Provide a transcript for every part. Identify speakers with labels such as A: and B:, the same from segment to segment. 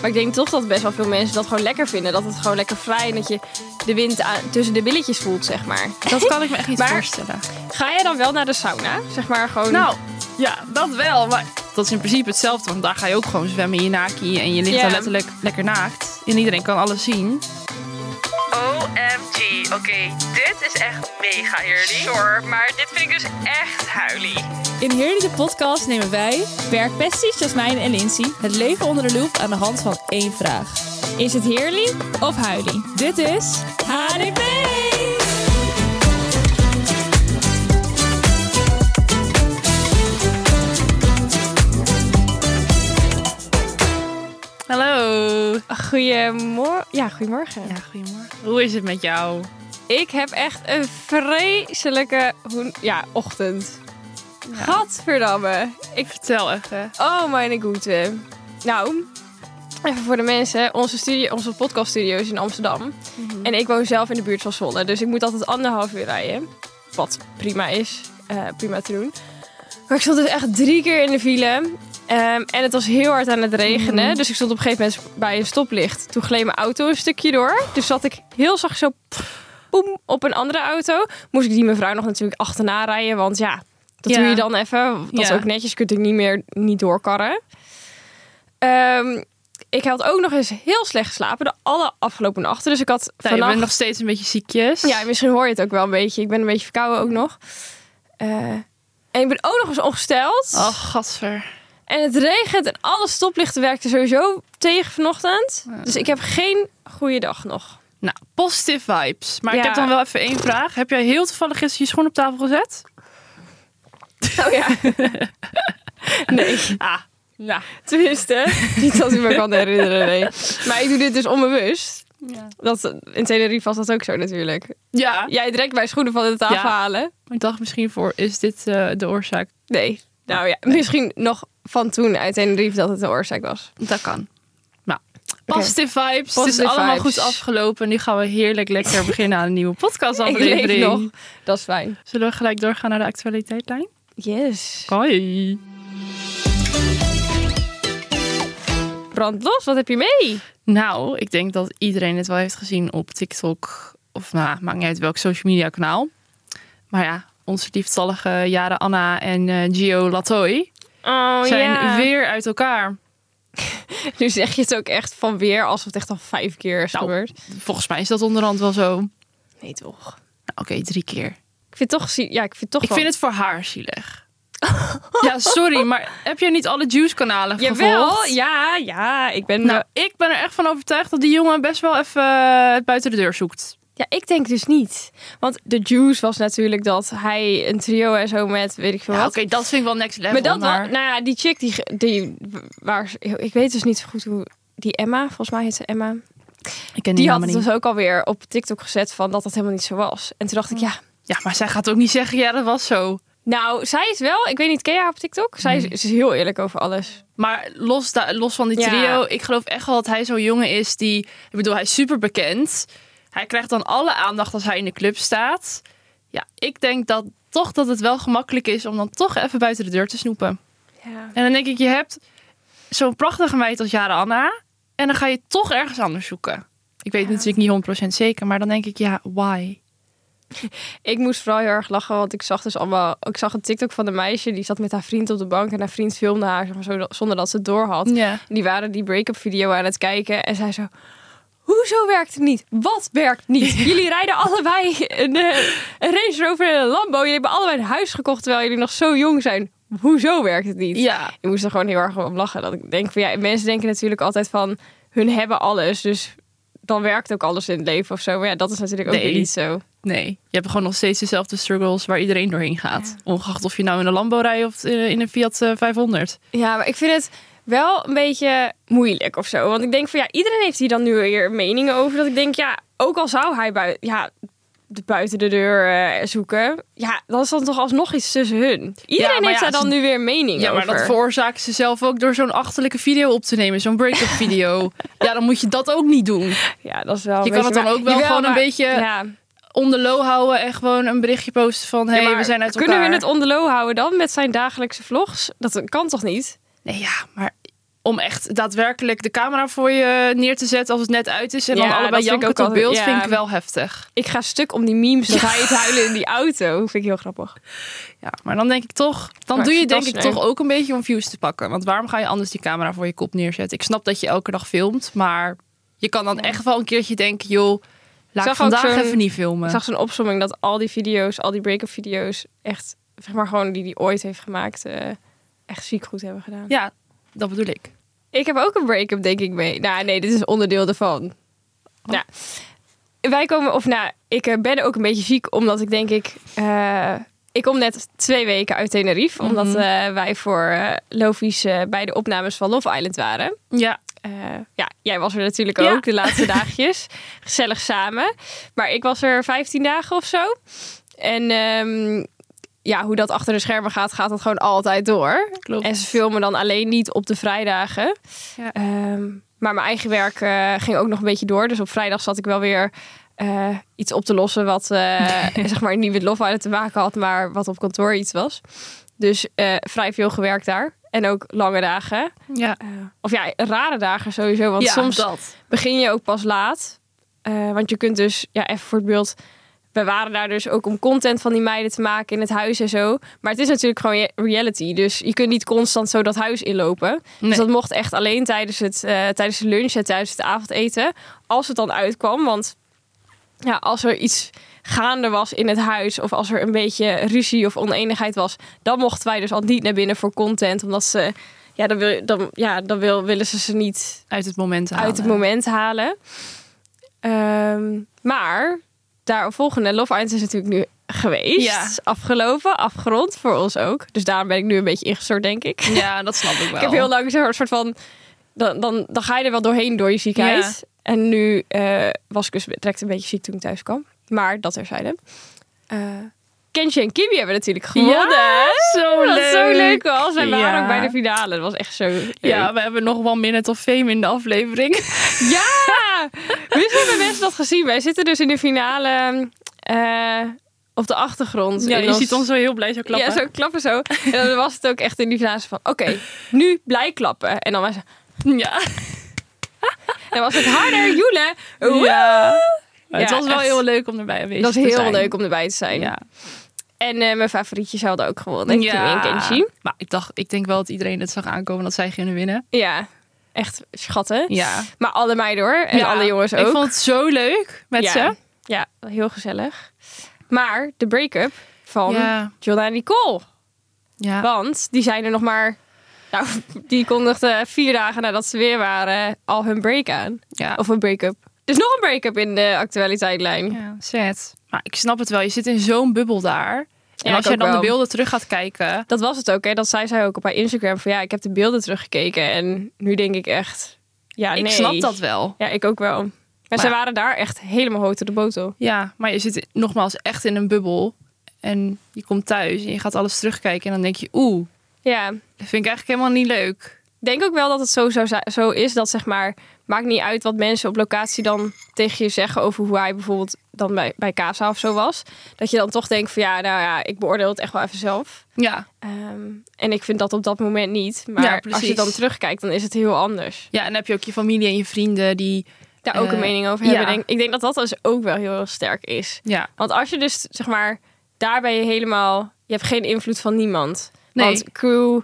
A: Maar ik denk toch dat best wel veel mensen dat gewoon lekker vinden. Dat het gewoon lekker vrij en dat je de wind aan- tussen de billetjes voelt, zeg maar.
B: Dat kan ik me echt niet
A: Maar-
B: voorstellen.
A: Ga jij dan wel naar de sauna? Zeg maar gewoon...
B: Nou, ja, dat wel. Maar dat is in principe hetzelfde. Want daar ga je ook gewoon zwemmen in je naki. En je ligt
A: Ja.
B: daar letterlijk lekker naakt. En iedereen kan alles zien.
C: OMG, oké, dit is echt mega eerlijk. Sorry, maar dit vind ik dus echt huilie.
D: In Heerlijke Podcast nemen wij, werkpesties Jasmijn dus en Lindsay, het leven onder de loep aan de hand van één vraag. Is het heerlijk of huilie? Dit is HDP!
B: Hallo.
A: Goedemorgen. Ja, goedemorgen.
B: Ja, goedemorgen. Hoe is het met jou?
A: Ik heb echt een vreselijke hoen- ja, ochtend. Gadverdamme. Ik...
B: Vertel even.
A: Oh mijn goede. Nou, even voor de mensen. Onze, studie, onze podcaststudio is in Amsterdam. En ik woon zelf in de buurt van Zwolle. Dus ik moet altijd anderhalf uur rijden. Wat prima is. eh, prima te doen. Maar ik stond dus echt drie keer in de file. Ehm, en het was heel hard aan het regenen. Dus ik stond op een gegeven moment bij een stoplicht. Toen gleed mijn auto een stukje door. Dus zat ik heel zacht zo boem, op een andere auto. Moest ik die mevrouw nog natuurlijk achterna rijden. Want ja, dat
B: Ja.
A: doe je dan even. Dat is
B: Ja.
A: ook netjes. Kunt ik niet meer niet doorkarren. Ehm, ik had ook nog eens heel slecht geslapen. De alle afgelopen nachten. Dus ik had
B: Nou, je
A: vannacht...
B: bent nog steeds een beetje ziekjes.
A: Ja, misschien hoor je het ook wel een beetje. Ik ben een beetje verkouden ook nog. Eh, en ik ben ook nog eens ongesteld.
B: Oh, gadver.
A: En het regent en alle stoplichten werkten sowieso tegen vanochtend. Dus ik heb geen goede dag nog.
B: Nou, positive vibes. Maar ik
A: Ja.
B: heb dan wel even één vraag. Heb jij heel toevallig gisteren je schoen op tafel gezet?
A: Oh ja. nou. nee.
B: Ah, ja.
A: Tenminste, niet dat ik me kan herinneren, nee. Maar ik doe dit dus onbewust.
B: Ja.
A: Dat, in Tenerife was dat ook zo natuurlijk.
B: Ja.
A: Jij trekt mijn schoenen van de tafel
B: Ja.
A: halen.
B: Ik dacht misschien voor, is dit eh, de oorzaak?
A: Nee. Nou ja, misschien nog van toen uit Tenerife dat het de oorzaak was.
B: Dat kan. Nou,
A: Oké.
B: positive vibes. het
A: Positive
B: is allemaal
A: vibes.
B: goed afgelopen. Nu gaan we heerlijk lekker beginnen aan een nieuwe
A: Ik leef nog.
B: podcastaflevering.
A: Dat is fijn.
B: Zullen we gelijk doorgaan naar de actualiteitlijn?
A: Yes.
B: Hoi.
A: Brand los, wat heb je mee?
B: Nou, ik denk dat iedereen het wel heeft gezien op TikTok. Of nou, maakt niet uit welk social media kanaal. Maar ja, onze lieftallige Jaren Anna en eh, Gio Latoy
A: Oh
B: zijn weer uit elkaar.
A: Nu zeg je het ook echt van weer, alsof het echt al vijf keer is
B: Nou.
A: gebeurd.
B: Volgens mij is dat onderhand wel zo. Nou,
A: Nee, toch.
B: Oké, drie keer.
A: Ik vind toch... zie- Ja, ik vind toch
B: Ik vind het voor haar zielig. ja, sorry, maar heb je niet alle Juice-kanalen gevolgd?
A: Jawel, ja, ja. Ik ben... eh,
B: Nou, ik ben er echt van overtuigd dat die jongen best wel even eh, het buiten de deur zoekt.
A: Ja, ik denk dus niet. Want de juice was natuurlijk dat hij een trio en zo met weet ik veel
B: Ja,
A: wat.
B: Oké, dat vind ik wel next level.
A: maar dat
B: maar-
A: was, nou ja, die chick die, ge- die waar, ze- ik weet dus niet zo goed hoe die Emma, volgens mij heet ze Emma, die,
B: ik ken die,
A: had
B: namen
A: het
B: niet.
A: dus ook alweer op TikTok gezet van dat dat helemaal niet zo was. En toen dacht ik, ja,
B: Ja, maar zij gaat ook niet zeggen, ja, dat was zo.
A: nou, zij is wel, ik weet niet, ken je haar op TikTok? Zij is, ze is heel eerlijk over alles.
B: Maar los, da- los van die
A: Ja.
B: trio, ik geloof echt wel dat hij zo'n jongen is die... Ik bedoel, hij is super bekend. Hij krijgt dan alle aandacht als hij in de club staat. Ja, ik denk dat toch dat het wel gemakkelijk is om dan toch even buiten de deur te snoepen.
A: Ja.
B: En dan denk ik, je hebt zo'n prachtige meid als Jara Anna. En dan ga je toch ergens anders zoeken. Ik weet natuurlijk niet 100% zeker, maar dan denk ik, ja, why?
A: Ik moest vooral heel erg lachen, want ik zag dus allemaal... Ik zag een TikTok van een meisje, die zat met haar vriend op de bank... en haar vriend filmde haar zeg maar, zo- zonder dat ze het door had.
B: Ja.
A: En Die waren die break-up video aan het kijken en zij zo... Hoezo werkt het niet? Wat werkt niet? Jullie rijden allebei een, eh, een Range Rover en een Lambo. Jullie hebben allebei een huis gekocht terwijl jullie nog zo jong zijn. Hoezo werkt het niet?
B: Ja.
A: Ik moest er gewoon heel erg om lachen. Dat ik denk van ja, mensen denken natuurlijk altijd van hun hebben alles. Dus dan werkt ook alles in het leven of zo. Maar ja, dat is natuurlijk ook
B: Nee.
A: weer niet zo.
B: Nee, je hebt gewoon nog steeds dezelfde struggles waar iedereen doorheen gaat. Ongeacht of je nou in een Lambo rijdt of eh, in een Fiat eh, 500.
A: Ja, maar ik vind het wel een beetje moeilijk of zo. Want ik denk van ja, iedereen heeft hier dan nu weer meningen over. Dat ik denk, ja, ook al zou hij bui ja, de buiten de deur eh, zoeken, ja, dan is dan toch alsnog iets tussen hun. Iedereen
B: maar ja,
A: heeft daar
B: als
A: dan
B: het-
A: nu weer mening
B: Ja,
A: over.
B: maar dat veroorzaken ze zelf ook door zo'n achterlijke video op te nemen. Zo'n break-up video. ja, dan moet je dat ook niet doen.
A: Ja, dat is wel.
B: Je
A: een
B: kan
A: beetje-
B: het dan
A: maar-
B: ook wel gewoon een beetje
A: Ja.
B: Onder low houden en gewoon een berichtje posten van... Hé,
A: Ja,
B: hey,
A: maar
B: we zijn uit
A: kunnen
B: elkaar.
A: we het onder low houden dan met zijn dagelijkse vlogs? Dat kan toch niet?
B: Nee, ja, maar om echt daadwerkelijk de camera voor je eh, neer te zetten als het net uit is. En
A: Ja,
B: dan
A: dat
B: allebei
A: vind ik
B: jankend
A: ook
B: op beeld
A: altijd- ja.
B: vind ik wel heftig.
A: Ik ga stuk om die memes, dan ga je het huilen in die auto. Vind ik heel grappig.
B: Ja, maar dan denk ik toch, dan
A: Maar
B: doe je denk
A: fantastisch,
B: ik
A: nee.
B: toch ook een beetje om views te pakken. Want waarom ga je anders die camera voor je kop neerzetten? Ik snap dat je elke dag filmt, maar je kan dan echt wel een keertje denken, joh,
A: zag
B: laat ik,
A: ook
B: vandaag
A: zo'n-
B: even niet filmen.
A: Ik zag zo'n opsomming dat al die video's, al die break-up video's, echt, zeg maar gewoon die die ooit heeft gemaakt, eh, echt ziek goed hebben gedaan.
B: Ja, dat bedoel ik.
A: Ik heb ook een break-up, denk ik, mee. Nou, nee, dit is onderdeel ervan. Nou, wij komen, of nou, ik eh, ben ook een beetje ziek, omdat ik denk ik... eh, ik kom net twee weken uit Tenerife, omdat eh, wij voor eh Lofi's eh, bij de opnames van Love Island waren.
B: Ja,
A: Eh, ja, jij was er natuurlijk
B: Ja.
A: ook de laatste dagjes. Gezellig samen. Maar ik was er 15 dagen of zo. En ehm, ja, hoe dat achter de schermen gaat, gaat dat gewoon altijd door.
B: klopt.
A: En ze filmen dan alleen niet op de vrijdagen.
B: Ja.
A: Ehm, maar mijn eigen werk eh, ging ook nog een beetje door. Dus op vrijdag zat ik wel weer eh, iets op te lossen wat eh, zeg maar niet met Love Island te maken had, maar wat op kantoor iets was. Dus eh, vrij veel gewerkt daar. En ook lange dagen.
B: ja.
A: Eh, of ja, rare dagen sowieso. Want
B: ja,
A: soms
B: dat.
A: begin je ook pas laat. Eh, want je kunt dus, ja, even voor het beeld. We waren daar dus ook om content van die meiden te maken in het huis en zo. Maar het is natuurlijk gewoon je- reality. Dus je kunt niet constant zo dat huis inlopen. Dus
B: Nee.
A: dat mocht echt alleen tijdens, het, eh, tijdens de lunch en tijdens het avondeten. Als het dan uitkwam. Want ja, als er iets gaande was in het huis. Of als er een beetje ruzie of oneenigheid was. Dan mochten wij dus al niet naar binnen voor content. Omdat ze, ja, dan, wil, dan, ja, dan wil, willen ze ze niet
B: Uit het moment halen.
A: uit het moment halen. Ehm, maar daar volgende Love Island is natuurlijk nu geweest.
B: Ja.
A: Is Afgelopen, afgerond voor ons ook. Dus daarom ben ik nu een beetje ingestort, denk ik.
B: Ja, dat snap ik wel.
A: Ik heb heel lang zo'n soort van... Dan, dan, dan ga je er wel doorheen door je ziekheid. En nu eh, was ik dus direct een beetje ziek toen ik thuis kwam. Maar dat terzijde. Eh Kenji en Kimi hebben natuurlijk gewonnen. Oh,
B: Ja, zo
A: dat
B: leuk.
A: is zo leuk was. Wij waren
B: Ja.
A: ook bij de finale. Dat was echt zo leuk.
B: Ja, we hebben nog wel minute of fame in de aflevering.
A: Ja! Misschien hebben mensen dat gezien. Wij zitten dus in de finale eh, op de achtergrond.
B: Ja,
A: In
B: je
A: ons-
B: ziet ons zo heel blij zo klappen.
A: Ja, zo klappen zo. En dan was het ook echt in die fase van... Oké, nu blij klappen. En dan was, en
B: Ja.
A: dan was het harder, joelen. Woe!
B: Maar het
A: Ja,
B: was wel
A: echt.
B: heel leuk om erbij aanwezig
A: Dat
B: te
A: is heel
B: zijn.
A: leuk om erbij te zijn.
B: Ja.
A: En eh, mijn favorietjes hadden ook gewonnen. Ja. Kim en Kenji.
B: Maar ik dacht, ik denk wel dat iedereen het zag aankomen dat zij gingen winnen.
A: Ja, echt schatten.
B: Ja.
A: Maar alle meiden hoor. En
B: Ja.
A: alle jongens ook.
B: Ik vond het zo leuk met
A: ja.
B: ze.
A: Ja, heel gezellig. Maar de break-up van
B: Ja.
A: Jonna en Nicole.
B: Ja.
A: Want die zijn er nog maar. Nou, die kondigden vier dagen nadat ze weer waren al hun break aan.
B: ja.
A: Of een break-up. Dus nog een break-up in de actualiteitlijn.
B: ja. Zet. Maar ik snap het wel. Je zit in zo'n bubbel daar. En
A: Ja,
B: als
A: ik
B: je
A: ook
B: dan
A: wel.
B: de beelden terug gaat kijken.
A: Dat was het ook, hè? Dat zei zij ook op haar Instagram. Van ja, ik heb de beelden teruggekeken. En nu denk ik echt. Ja,
B: Ik
A: Ah, nee.
B: snap dat wel.
A: Ja, ik ook wel. Maar, ze waren daar echt helemaal hoog tot de botel.
B: Ja, maar je zit nogmaals echt in een bubbel. En je komt thuis en je gaat alles terugkijken. En dan denk je, oeh,
A: Ja.
B: dat vind ik eigenlijk helemaal niet leuk.
A: Ik denk ook wel dat het zo, zo, zo is dat zeg maar. Maakt niet uit wat mensen op locatie dan tegen je zeggen over hoe hij bijvoorbeeld dan bij, bij Kaapzaal of zo was. Dat je dan toch denkt van ja, nou ja, ik beoordeel het echt wel even zelf.
B: Ja.
A: Ehm, en ik vind dat op dat moment niet. Maar
B: Ja,
A: als je
B: precies.
A: dan terugkijkt, dan is het heel anders.
B: Ja, en dan heb je ook je familie en je vrienden die...
A: Daar ook een
B: Eh,
A: mening over
B: ja.
A: hebben. Denk, ik denk dat dat dus ook wel heel, heel sterk is.
B: Ja,
A: Want als je dus zeg maar, daar ben je helemaal, je hebt geen invloed van niemand.
B: Nee.
A: Want crew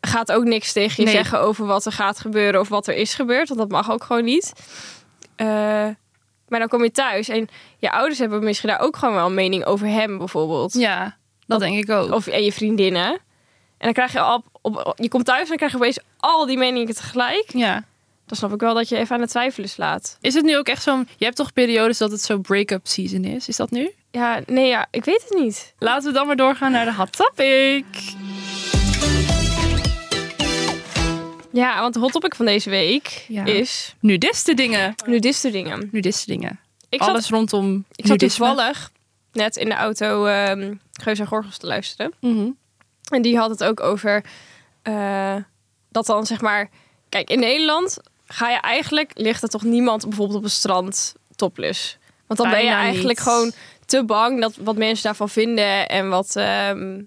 A: gaat ook niks tegen je
B: Nee.
A: zeggen over wat er gaat gebeuren of wat er is gebeurd, want dat mag ook gewoon niet. Eh, maar dan kom je thuis en je ouders hebben misschien daar ook gewoon wel een mening over hem bijvoorbeeld.
B: ja dat, denk ik ook.
A: Of en je vriendinnen. En dan krijg je al op, op- je komt thuis en dan krijg je opeens al die meningen tegelijk.
B: ja.
A: Dan snap ik wel dat je even aan het twijfelen slaat.
B: Is het nu ook echt zo'n... Je hebt toch periodes dat het zo break-up season is? Is dat nu?
A: Ja, nee, ja, ik weet het niet.
B: Laten we dan maar doorgaan naar de hot topic.
A: Ja, want de hot topic van deze week
B: Ja.
A: is
B: Nudiste dingen.
A: nudiste dingen.
B: Nudiste dingen.
A: Ik zat,
B: Alles rondom
A: ik zat
B: nudisme.
A: toevallig net in de auto ehm Geus en Gorgels te luisteren.
B: Mhm.
A: En die had het ook over eh, dat dan zeg maar... Kijk, in Nederland ga je eigenlijk... ligt er toch niemand bijvoorbeeld op een strand topless. Want dan ben je
B: Bijna
A: eigenlijk
B: niet.
A: gewoon te bang dat wat mensen daarvan vinden. En wat ehm,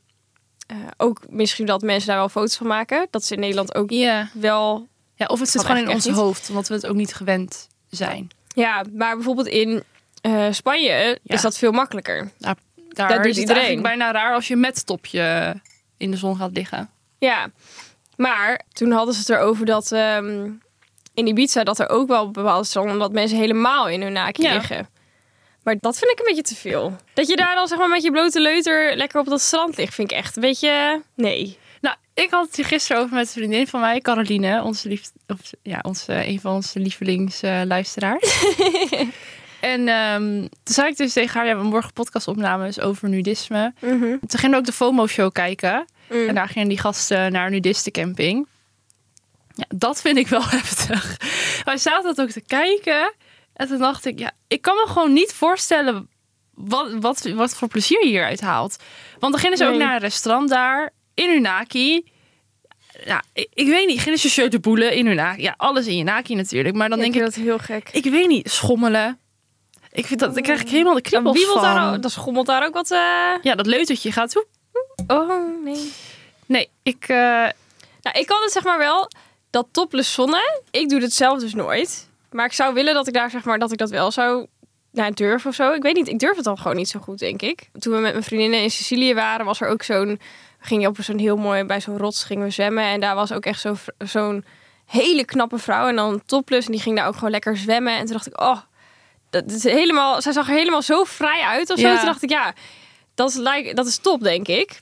A: eh, ook misschien dat mensen daar wel foto's van maken. Dat is in Nederland ook
B: Ja.
A: wel
B: Ja, of het zit
A: Kan
B: gewoon in
A: eigenlijk
B: ons
A: echt niet.
B: hoofd, omdat we het ook niet gewend zijn.
A: Ja, maar bijvoorbeeld in eh, Spanje
B: Ja.
A: is dat veel makkelijker.
B: Daar, daar
A: doet
B: is het
A: iedereen.
B: eigenlijk bijna raar als je met topje in de zon gaat liggen.
A: Ja, maar toen hadden ze het erover dat ehm, in Ibiza dat er ook wel bepaalde stranden dat mensen helemaal in hun naakje
B: Ja.
A: liggen. Maar dat vind ik een beetje te veel. Dat je daar dan zeg maar met je blote leuter lekker op dat strand ligt, vind ik echt een beetje... Nee.
B: Nou, ik had het hier gisteren over met een vriendin van mij, Caroline, onze lief, of, ja, onze, een van onze lievelingsluisteraars. en ehm, toen zei ik dus tegen haar, ja, we hebben morgen podcastopnames over nudisme.
A: Mhm.
B: Toen gingen we ook de FOMO-show kijken.
A: Mm.
B: En daar gingen die gasten naar een nudistencamping. Ja, dat vind ik wel heftig. Wij zaten dat ook te kijken. En toen dacht ik, ja, ik kan me gewoon niet voorstellen wat, wat, wat voor plezier je hieruit haalt. Want dan gingen ze ook
A: Nee.
B: naar een restaurant daar, in hun naki. Ja, ik, ik weet niet, gingen ze show de boelen in hun naki. Ja, alles in je naki natuurlijk. Maar dan denk ik,
A: dat heel gek.
B: ik weet niet, schommelen. Ik vind dat, daar krijg ik
A: Oh.
B: helemaal de
A: Dan,
B: kriebels van.
A: daar, ook- dan schommelt daar ook wat... eh,
B: Ja, dat leutertje gaat zo.
A: Oh, nee.
B: Nee, ik... eh,
A: Nou, ik kan het zeg maar wel, dat topless zonnen, ik doe het zelf dus nooit. Maar ik zou willen dat ik daar zeg maar, dat ik dat wel zou nou, durven of zo. Ik weet niet, ik durf het dan gewoon niet zo goed, denk ik. Toen we met mijn vriendinnen in Sicilië waren, was er ook zo'n, we gingen op zo'n heel mooi, bij zo'n rots gingen we zwemmen. En daar was ook echt zo- zo'n hele knappe vrouw en dan topless. En die ging daar ook gewoon lekker zwemmen. En toen dacht ik, oh, dat is helemaal, zij zag er helemaal zo vrij uit of zo.
B: Ja.
A: Toen dacht ik, ja, dat is, lijk- dat is top, denk ik.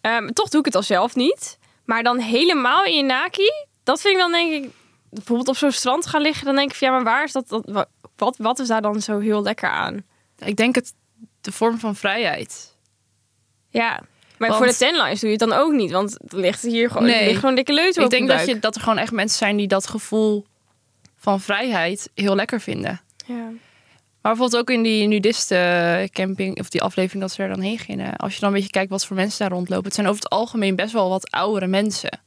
A: Ehm, toch doe ik het dan zelf niet. Maar dan helemaal in je naki, dat vind ik dan denk ik... Bijvoorbeeld op zo'n strand gaan liggen, dan denk ik van... Ja, maar waar is dat, dat wa- wat, wat is daar dan zo heel lekker aan?
B: Ik denk het de vorm van vrijheid.
A: Ja, maar
B: Want-
A: voor de tenlines doe je het dan ook niet. Want er ligt hier gewoon,
B: Nee.
A: er ligt gewoon dikke leuter
B: ik
A: op
B: denk
A: je
B: dat, je,
A: buik.
B: dat er gewoon echt mensen zijn die dat gevoel van vrijheid heel lekker vinden.
A: Ja.
B: Maar bijvoorbeeld ook in die nudisten camping of die aflevering dat ze er dan heen gingen. Als je dan een beetje kijkt wat voor mensen daar rondlopen. Het zijn over het algemeen best wel wat oudere mensen.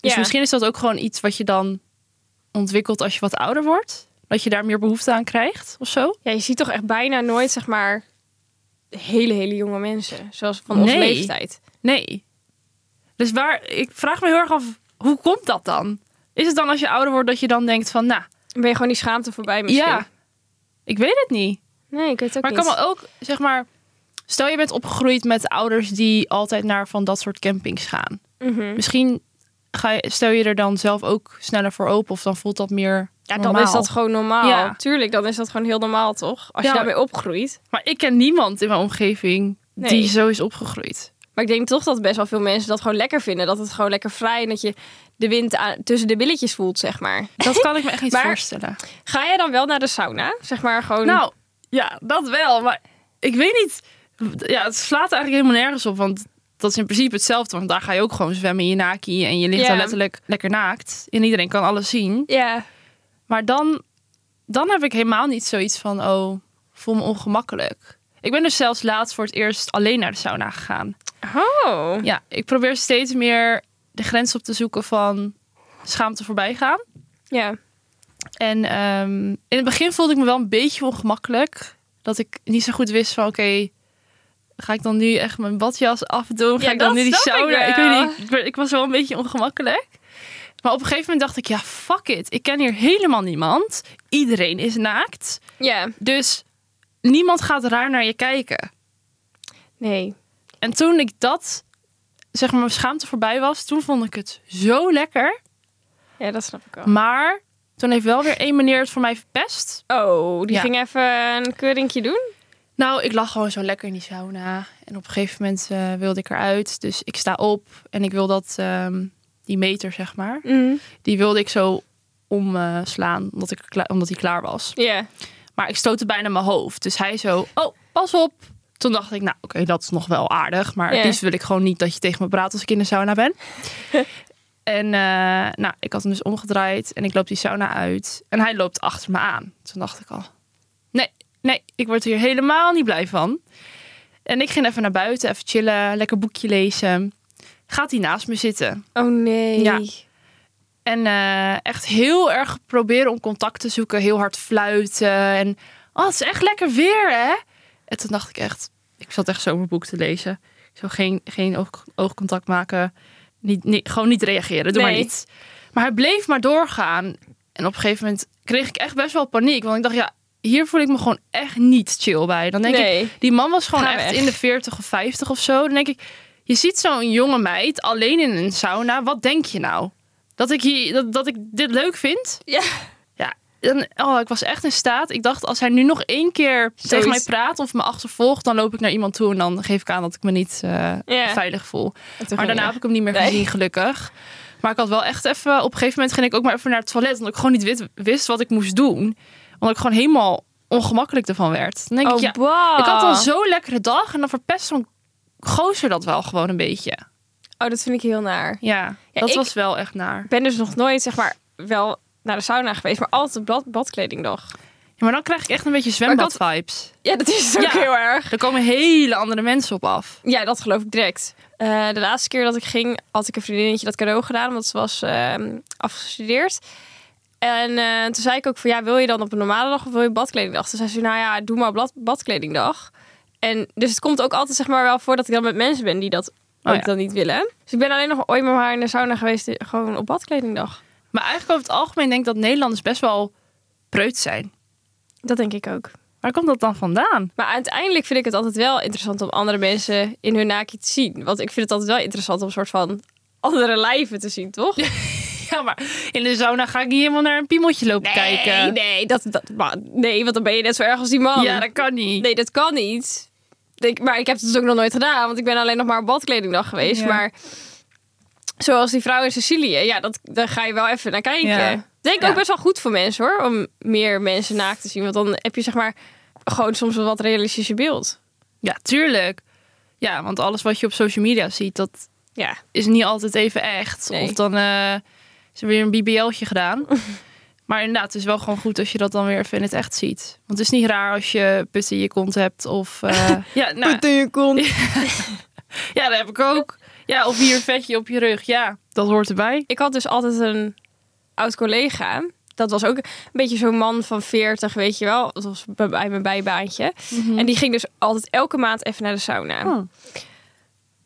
B: Dus
A: Ja.
B: misschien is dat ook gewoon iets wat je dan ontwikkelt als je wat ouder wordt. Dat je daar meer behoefte aan krijgt of zo.
A: ja, je ziet toch echt bijna nooit, zeg maar... hele, hele jonge mensen. Zoals van onze
B: Nee.
A: leeftijd.
B: Nee. Dus waar, ik vraag me heel erg af, hoe komt dat dan? Is het dan als je ouder wordt dat je dan denkt van, nou,
A: Dan ben je gewoon die schaamte voorbij misschien.
B: Ja, ik weet het niet.
A: Nee, ik weet het ook
B: maar ik
A: niet.
B: kan me ook, zeg maar, stel je bent opgegroeid met ouders die altijd naar van dat soort campings gaan.
A: Mhm.
B: Misschien ga je, stel je er dan zelf ook sneller voor open of dan voelt dat meer
A: Ja, dan
B: normaal.
A: is dat gewoon normaal.
B: Ja.
A: Tuurlijk, dan is dat gewoon heel normaal, toch? Als
B: Ja.
A: je daarmee opgroeit.
B: Maar ik ken niemand in mijn omgeving die
A: Nee.
B: zo is opgegroeid.
A: Maar ik denk toch dat best wel veel mensen dat gewoon lekker vinden. Dat het gewoon lekker vrij en dat je de wind aan- tussen de billetjes voelt, zeg maar.
B: Dat kan ik me echt niet
A: Maar-
B: voorstellen.
A: Ga jij dan wel naar de sauna? Zeg maar gewoon...
B: Nou, ja, dat wel. Maar ik weet niet. Ja, het slaat eigenlijk helemaal nergens op. Want dat is in principe hetzelfde. Want daar ga je ook gewoon zwemmen in je naki. En je ligt
A: Ja.
B: daar letterlijk lekker naakt. En iedereen kan alles zien.
A: Ja.
B: Maar dan, dan heb ik helemaal niet zoiets van... Oh, voel me ongemakkelijk. Ik ben dus zelfs laatst voor het eerst alleen naar de sauna gegaan.
A: Oh.
B: Ja, ik probeer steeds meer de grens op te zoeken van schaamte voorbij gaan.
A: Ja.
B: En ehm, in het begin voelde ik me wel een beetje ongemakkelijk. Dat ik niet zo goed wist van oké, ga ik dan nu echt mijn badjas afdoen? Ga
A: Ja,
B: ik dan
A: dat
B: nu die
A: snap ik
B: sauna? Ik,
A: wel.
B: weet niet, ik, ben- ik was wel een beetje ongemakkelijk. Maar op een gegeven moment dacht ik, ja, fuck it. Ik ken hier helemaal niemand. Iedereen is naakt.
A: Ja.
B: Dus niemand gaat raar naar je kijken.
A: Nee.
B: En toen ik dat, zeg maar, mijn schaamte voorbij was, toen vond ik het zo lekker.
A: Ja, dat snap ik wel.
B: Maar toen heeft wel weer één meneer het voor mij verpest.
A: Oh, die
B: Ja.
A: ging even een keurinkje doen?
B: Nou, ik lag gewoon zo lekker in die sauna. En op een gegeven moment eh, wilde ik eruit. Dus ik sta op en ik wil dat, ehm, die meter zeg maar, die wilde ik zo omslaan omdat, ik kla- omdat die klaar was.
A: Ja.
B: Maar ik stootte bijna mijn hoofd. Dus hij zo, oh, pas op. Toen dacht ik, nou oké, dat is nog wel aardig. Maar het
A: Ja.
B: liefst wil ik gewoon niet dat je tegen me praat als ik in de sauna ben. en eh, nou, ik had hem dus omgedraaid en ik loop die sauna uit. En hij loopt achter me aan. Toen dacht ik al, nee, nee, ik word hier helemaal niet blij van. En ik ging even naar buiten, even chillen, lekker boekje lezen. Gaat hij naast me zitten.
A: Oh nee.
B: Ja. En eh, echt heel erg proberen om contact te zoeken. Heel hard fluiten. En oh, het is echt lekker weer, hè? En toen dacht ik echt... Ik zat echt zo mijn boek te lezen. Ik zou geen, geen oog- oogcontact maken. Niet, niet- gewoon niet reageren. Doe maar
A: Nee.
B: niet. Maar hij bleef maar doorgaan. En op een gegeven moment kreeg ik echt best wel paniek. Want ik dacht, ja, hier voel ik me gewoon echt niet chill bij. Dan denk
A: Nee.
B: ik, die man was gewoon
A: Ga
B: echt
A: weg.
B: in de 40 of 50 of zo. Dan denk ik, je ziet zo'n jonge meid alleen in een sauna. Wat denk je nou? Dat ik, hier, dat, dat ik dit leuk vind?
A: Ja.
B: Ja, en, oh, ik was echt in staat. Ik dacht, als hij nu nog één keer tegen mij praat of me achtervolgt, dan loop ik naar iemand toe en dan geef ik aan dat ik me niet eh,
A: Ja.
B: veilig voel.
A: En toen
B: Maar
A: ging
B: daarna heb ik hem niet meer
A: Nee.
B: gezien, gelukkig. Maar ik had wel echt even... Op een gegeven moment ging ik ook maar even naar het toilet. Omdat ik gewoon niet wit- wist wat ik moest doen. Omdat ik gewoon helemaal ongemakkelijk ervan werd. Dan denk
A: weg.
B: ik, ja,
A: Oh, bah.
B: ik had al zo'n lekkere dag. En dan verpest zo'n gozer dat wel gewoon een beetje.
A: Oh, dat vind ik heel naar.
B: Ja,
A: Ja,
B: dat
A: ik-
B: was wel echt naar.
A: Ik ben dus nog nooit, zeg maar, wel naar de sauna geweest, maar altijd bad, badkledingdag.
B: Ja, maar dan krijg ik echt een beetje
A: ik had-
B: zwembad-vibes.
A: Ja, dat is het ook
B: Ja.
A: heel erg.
B: Er komen hele andere mensen op af.
A: Ja, dat geloof ik direct. Eh, de laatste keer dat ik ging, had ik een vriendinnetje dat cadeau gedaan, omdat ze was ehm, afgestudeerd. En eh, toen zei ik ook van, ja, wil je dan op een normale dag of wil je badkledingdag? Toen zei ze, nou ja, doe maar blad, badkledingdag. En dus het komt ook altijd zeg maar wel voor dat ik dan met mensen ben die dat
B: Oh
A: ook
B: ja.
A: dan niet willen. Dus ik ben alleen nog ooit met haar in de sauna geweest, eh, gewoon op badkledingdag.
B: Maar eigenlijk over het algemeen denk ik dat Nederlanders best wel preut zijn.
A: Dat denk ik ook.
B: Waar komt dat dan vandaan?
A: Maar uiteindelijk vind ik het altijd wel interessant om andere mensen in hun naakje te zien. Want ik vind het altijd wel interessant om een soort van andere lijven te zien, toch?
B: Ja, maar in de sauna ga ik niet helemaal naar een piemeltje lopen kijken.
A: Nee, nee, dat, dat, maar, nee, want dan ben je net zo erg als die man.
B: Ja, dat kan niet.
A: Nee, dat kan niet. Ik, maar ik heb het dus ook nog nooit gedaan, want ik ben alleen nog maar op badkledingdag geweest.
B: Ja.
A: Maar zoals die vrouw in Sicilië, ja, dat, daar ga je wel even naar kijken.
B: Ja.
A: Denk
B: Ja.
A: ook best wel goed voor mensen hoor, om meer mensen naakt te zien. Want dan heb je zeg maar gewoon soms een wat realistischer beeld.
B: Ja, tuurlijk. Ja, want alles wat je op social media ziet, dat
A: Ja,
B: is niet altijd even echt.
A: Nee.
B: Of dan eh, is er weer een BBL'tje gedaan. maar inderdaad, het is wel gewoon goed als je dat dan weer even in het echt ziet. Want het is niet raar als je put in je kont hebt. Of eh, ja, nou,
A: in je kont.
B: ja, dat heb ik ook. Ja, of hier een vetje op je rug. Ja, dat hoort erbij.
A: ik had dus altijd een oud collega. Dat was ook een beetje zo'n man van 40, weet je wel. Dat was bij- bij mijn bijbaantje. En die ging dus altijd elke maand even naar de sauna.
B: Mhm. Oh.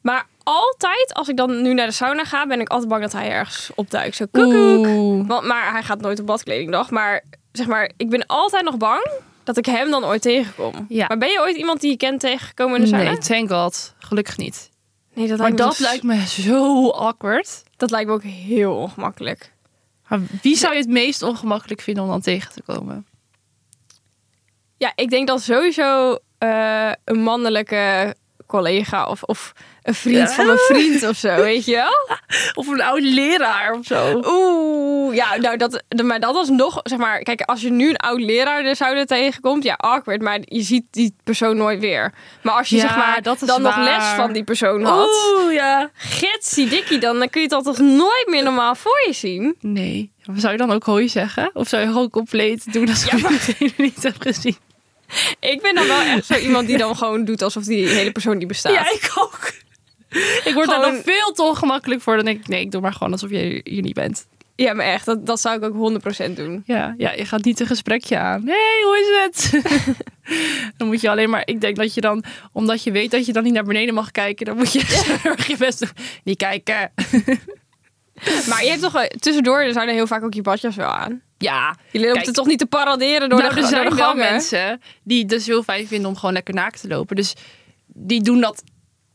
A: Maar altijd, als ik dan nu naar de sauna ga, ben ik altijd bang dat hij ergens opduikt. Zo koekoek.
B: Oeh.
A: Want, maar hij gaat nooit op badkledingdag. Maar zeg maar, ik ben altijd nog bang dat ik hem dan ooit tegenkom.
B: Ja.
A: Maar ben je ooit iemand die je kent tegengekomen in de sauna?
B: Nee, thank god. Gelukkig niet.
A: Nee, dat,
B: Maar
A: lijkt me
B: dat
A: zo-
B: lijkt me zo awkward.
A: dat lijkt me ook heel ongemakkelijk.
B: Maar wie zou je het meest ongemakkelijk vinden om dan tegen te komen?
A: Ja, ik denk dat sowieso eh, een mannelijke collega of, of een vriend
B: Ja.
A: van een vriend of zo, weet je wel?
B: Of een oude leraar of zo.
A: Oeh, ja, nou dat, de- maar dat was nog, zeg maar, kijk, als je nu een oud leraar er zouden tegenkomt, ja, awkward, maar je ziet die persoon nooit weer. Maar als je
B: Ja,
A: zeg maar
B: dat is
A: dan nog les
B: waar.
A: van die persoon had,
B: Oeh, ja.
A: gitsie dikkie, dan, dan kun je dat toch nooit meer normaal voor je zien?
B: Nee. Maar Zou je dan ook hoi zeggen? Of zou je gewoon compleet doen alsof je diegene niet hebt gezien?
A: Ik ben dan wel echt zo iemand die dan gewoon doet alsof die hele persoon niet bestaat.
B: ik ook. Ik word daar
A: Gewoon-
B: dan veel te ongemakkelijk voor. Dan denk ik, nee, ik doe maar gewoon alsof je hier niet bent.
A: Ja, maar echt, dat, dat zou ik ook 100% doen.
B: Ja, ja, je gaat niet een gesprekje aan. Hé, hey, hoe is het? dan moet je alleen maar... Ik denk dat je dan, omdat je weet dat je dan niet naar beneden mag kijken... dan moet je heel erg je best doen. Niet kijken.
A: Maar je hebt toch eh, tussendoor, er zijn er heel vaak ook je badjas wel aan.
B: Ja,
A: Jullie hoeft
B: Kijk.
A: het toch niet te paraderen door
B: nou,
A: de,
B: er
A: door
B: zijn
A: de
B: wel
A: gangen?
B: mensen die het dus heel fijn vinden om gewoon lekker naakt te lopen. Dus die doen dat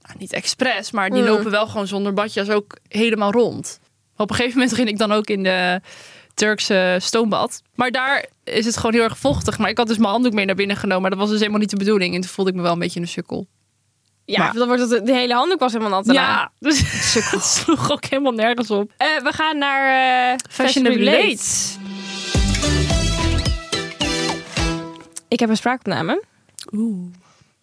B: nou, niet expres, maar die
A: Mm.
B: lopen wel gewoon zonder badjas ook helemaal rond. Op een gegeven moment ging ik dan ook in de Turkse stoombad. Maar daar is het gewoon heel erg vochtig. Maar ik had dus mijn handdoek mee naar binnen genomen. Maar dat was dus helemaal niet de bedoeling. En toen voelde ik me wel een beetje een sukkel.
A: Ja,
B: Maar-
A: dan wordt het, de hele handdoek was helemaal nat daarna.
B: dus het sloeg ook helemaal nergens op.
A: Eh, we gaan naar eh
B: Fashionably
A: Fashionably
B: late.
A: Ik heb een spraakopname.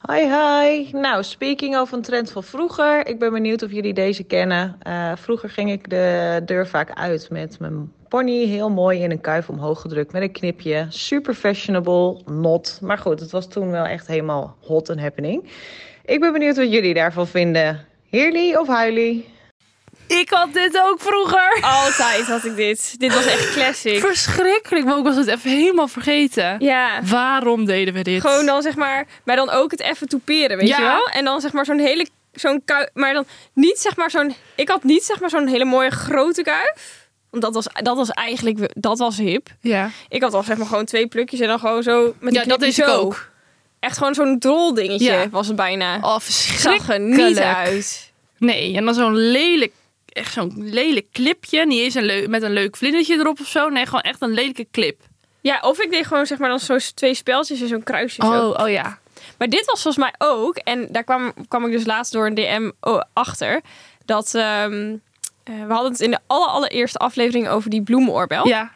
E: Hi, hi. Nou, speaking of een trend van vroeger. Ik ben benieuwd of jullie deze kennen. Eh, vroeger ging ik de deur vaak uit met mijn pony. Heel mooi in een kuif omhoog gedrukt met een knipje. Super fashionable, not. Maar goed, het was toen wel echt helemaal hot en happening. Ik ben benieuwd wat jullie daarvan vinden. Heerly of huilie?
B: Ik had dit ook vroeger.
A: Altijd had ik dit. Dit was echt classic.
B: Verschrikkelijk, maar ik was het even helemaal vergeten.
A: Ja.
B: Waarom deden we dit?
A: Gewoon dan zeg maar, maar dan ook het even toeperen, weet
B: Ja.
A: je wel? En dan zeg maar zo'n hele, zo'n kuif, maar dan niet zeg maar zo'n, ik had niet zeg maar zo'n hele mooie grote kuif. Want dat was, dat was eigenlijk, we- dat was hip.
B: Ja,
A: Ik had al zeg maar gewoon twee plukjes en dan gewoon zo met die
B: ja dat
A: knipjes
B: is ik
A: zo.
B: ook.
A: Echt gewoon zo'n drol dingetje
B: Ja.
A: was het bijna.
B: Oh,
A: Ik zag er niet
B: verschrikkelijk.
A: uit.
B: Nee, en dan zo'n lelijk, echt zo'n lelijk clipje. Niet eens een leu- met een leuk vlindertje erop of zo. Nee, gewoon echt een lelijke clip.
A: Ja, of ik deed gewoon zeg maar dan zo'n twee speltjes en zo'n kruisje zo.
B: oh ja.
A: Maar dit was volgens mij ook, en daar kwam, kwam ik dus laatst door een DM o- achter, dat ehm, eh, we hadden het in de aller, allereerste aflevering over die bloemoorbel.
B: Oh, Ja,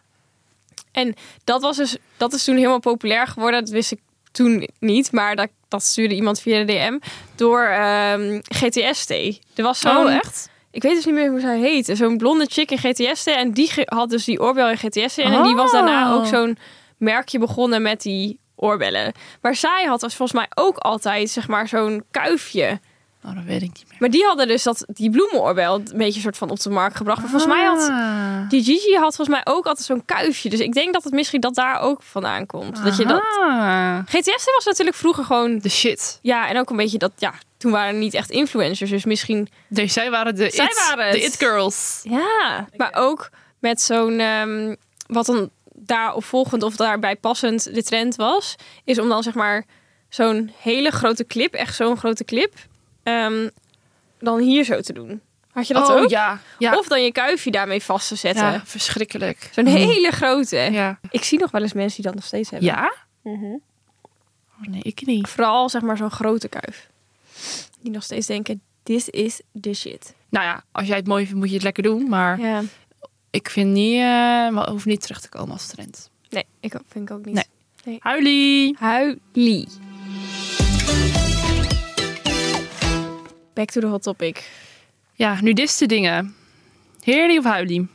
A: En dat, was dus, dat is toen helemaal populair geworden. Dat wist ik toen niet, maar dat, dat stuurde iemand via de DM door ehm, GTST. Er was zo'n,
B: oh echt?
A: ik weet dus niet meer hoe zij heette, zo'n blonde chick in GTST. En die ge- had dus die oorbel in GTST. En, die was daarna
B: Oh.
A: ook zo'n merkje begonnen met die oorbellen. Maar zij had dus volgens mij ook altijd, zeg maar, zo'n kuifje.
B: Oh, dat weet ik niet meer.
A: Maar die hadden dus dat, die bloemenoorbel een beetje soort van op de markt gebracht. Maar volgens mij
B: Ah.
A: had die Gigi had volgens mij ook altijd zo'n kuifje. Dus ik denk dat het misschien dat daar ook vandaan komt. Dat je dat... GTS was natuurlijk vroeger gewoon...
B: Ah. De shit.
A: Ja, en ook een beetje dat... Ja, toen waren er niet echt influencers. Dus misschien...
B: Dus zij waren de,
A: Zij
B: it,
A: waren
B: de
A: het.
B: it girls.
A: Ja. Maar ook met zo'n... ehm, wat dan daarop volgend of daarbij passend de trend was... Is om dan zeg maar zo'n hele grote clip... Echt zo'n grote clip... ehm, dan hier zo te doen. Had je dat ook?
B: Oh, ja. Ja.
A: Of dan je kuifje daarmee vast te zetten.
B: ja, verschrikkelijk.
A: Zo'n hele grote.
B: Ja.
A: Ik zie nog wel eens mensen die dat nog steeds hebben.
B: Ja? Oh, nee, ik niet.
A: Vooral zeg maar zo'n grote kuif. Die nog steeds denken, this is the shit.
B: Nou ja, als jij het mooi vindt, moet je het lekker doen. Maar
A: Ja.
B: ik vind niet... eh maar hoeft niet terug te komen als trend.
A: Nee, ik ook- vind ik ook niet.
B: Nee. Huilie!
A: Huilie. Back to the hot topic.
B: Ja, nudiste dingen. Heerlie of huilie?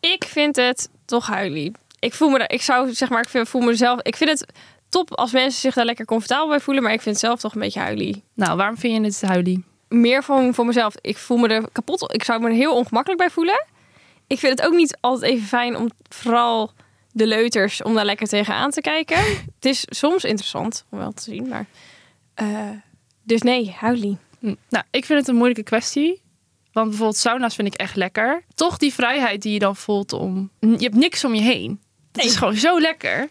A: Ik vind het toch huilie. Ik voel me, er- ik zou zeg maar, ik vind- voel mezelf. Ik vind het top als mensen zich daar lekker comfortabel bij voelen, maar ik vind het zelf toch een beetje huilie.
B: Nou, waarom vind je het huilie?
A: Meer van voor mezelf. Ik voel me er kapot. Ik zou me er heel ongemakkelijk bij voelen. Ik vind het ook niet altijd even fijn om vooral de leuters om daar lekker tegenaan te kijken. het is soms interessant om wel te zien, maar. eh, dus nee, huilie.
B: Hm, Nou, ik vind het een moeilijke kwestie. Want bijvoorbeeld sauna's vind ik echt lekker. Toch die vrijheid die je dan voelt om... Je hebt niks om je heen. Het is gewoon zo lekker.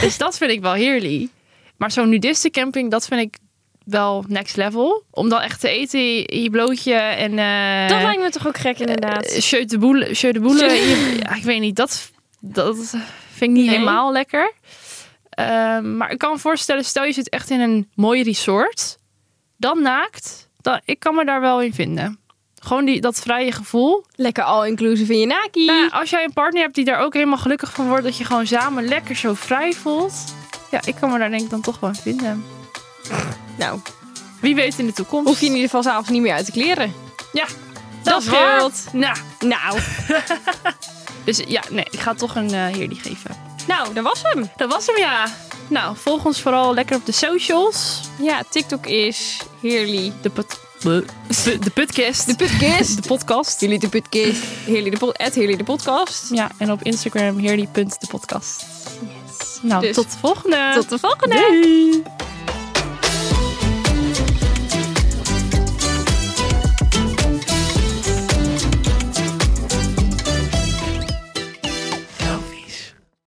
B: Dus dat vind ik wel heerlijk. Maar zo'n nudiste camping, dat vind ik wel next level. Om dan echt te eten in je blootje en... eh,
A: dat lijkt me toch ook gek, inderdaad.
B: eh, Sjeu de boele. sjeu de boele. Je- ja, ik weet niet, dat, dat vind ik niet
A: Nee.
B: helemaal lekker. Ehm, maar ik kan me voorstellen, stel je zit echt in een mooi resort. Dan naakt. Dan, ik kan me daar wel in vinden. Gewoon die, dat vrije gevoel.
A: lekker all-inclusive in je naki.
B: Nou, als jij een partner hebt die daar ook helemaal gelukkig van wordt. Dat je gewoon samen lekker zo vrij voelt. Ja, ik kan me daar denk ik dan toch wel in vinden.
A: nou,
B: Wie weet in de toekomst.
A: hoef je in ieder geval s'avonds niet meer uit de kleren.
B: Ja, dat,
A: Dat
B: is waar.
A: scheelt.
B: Nou,
A: Nou,
B: dus ja, nee, ik ga toch een eh heerlie geven.
A: nou, dat was hem.
B: Dat was hem, ja. Nou, volg ons vooral lekker op de socials.
A: Ja, TikTok is heerly.
B: De, pod- de, de podcast.
A: De podcast.
B: De podcast.
A: Jullie de podcast. Heerly de pod, at Heerly de podcast.
B: Ja, en op Instagram heerly.depodcast. Yes. Nou,
A: Dus-
B: tot de volgende.
A: Tot de volgende.
B: Doei.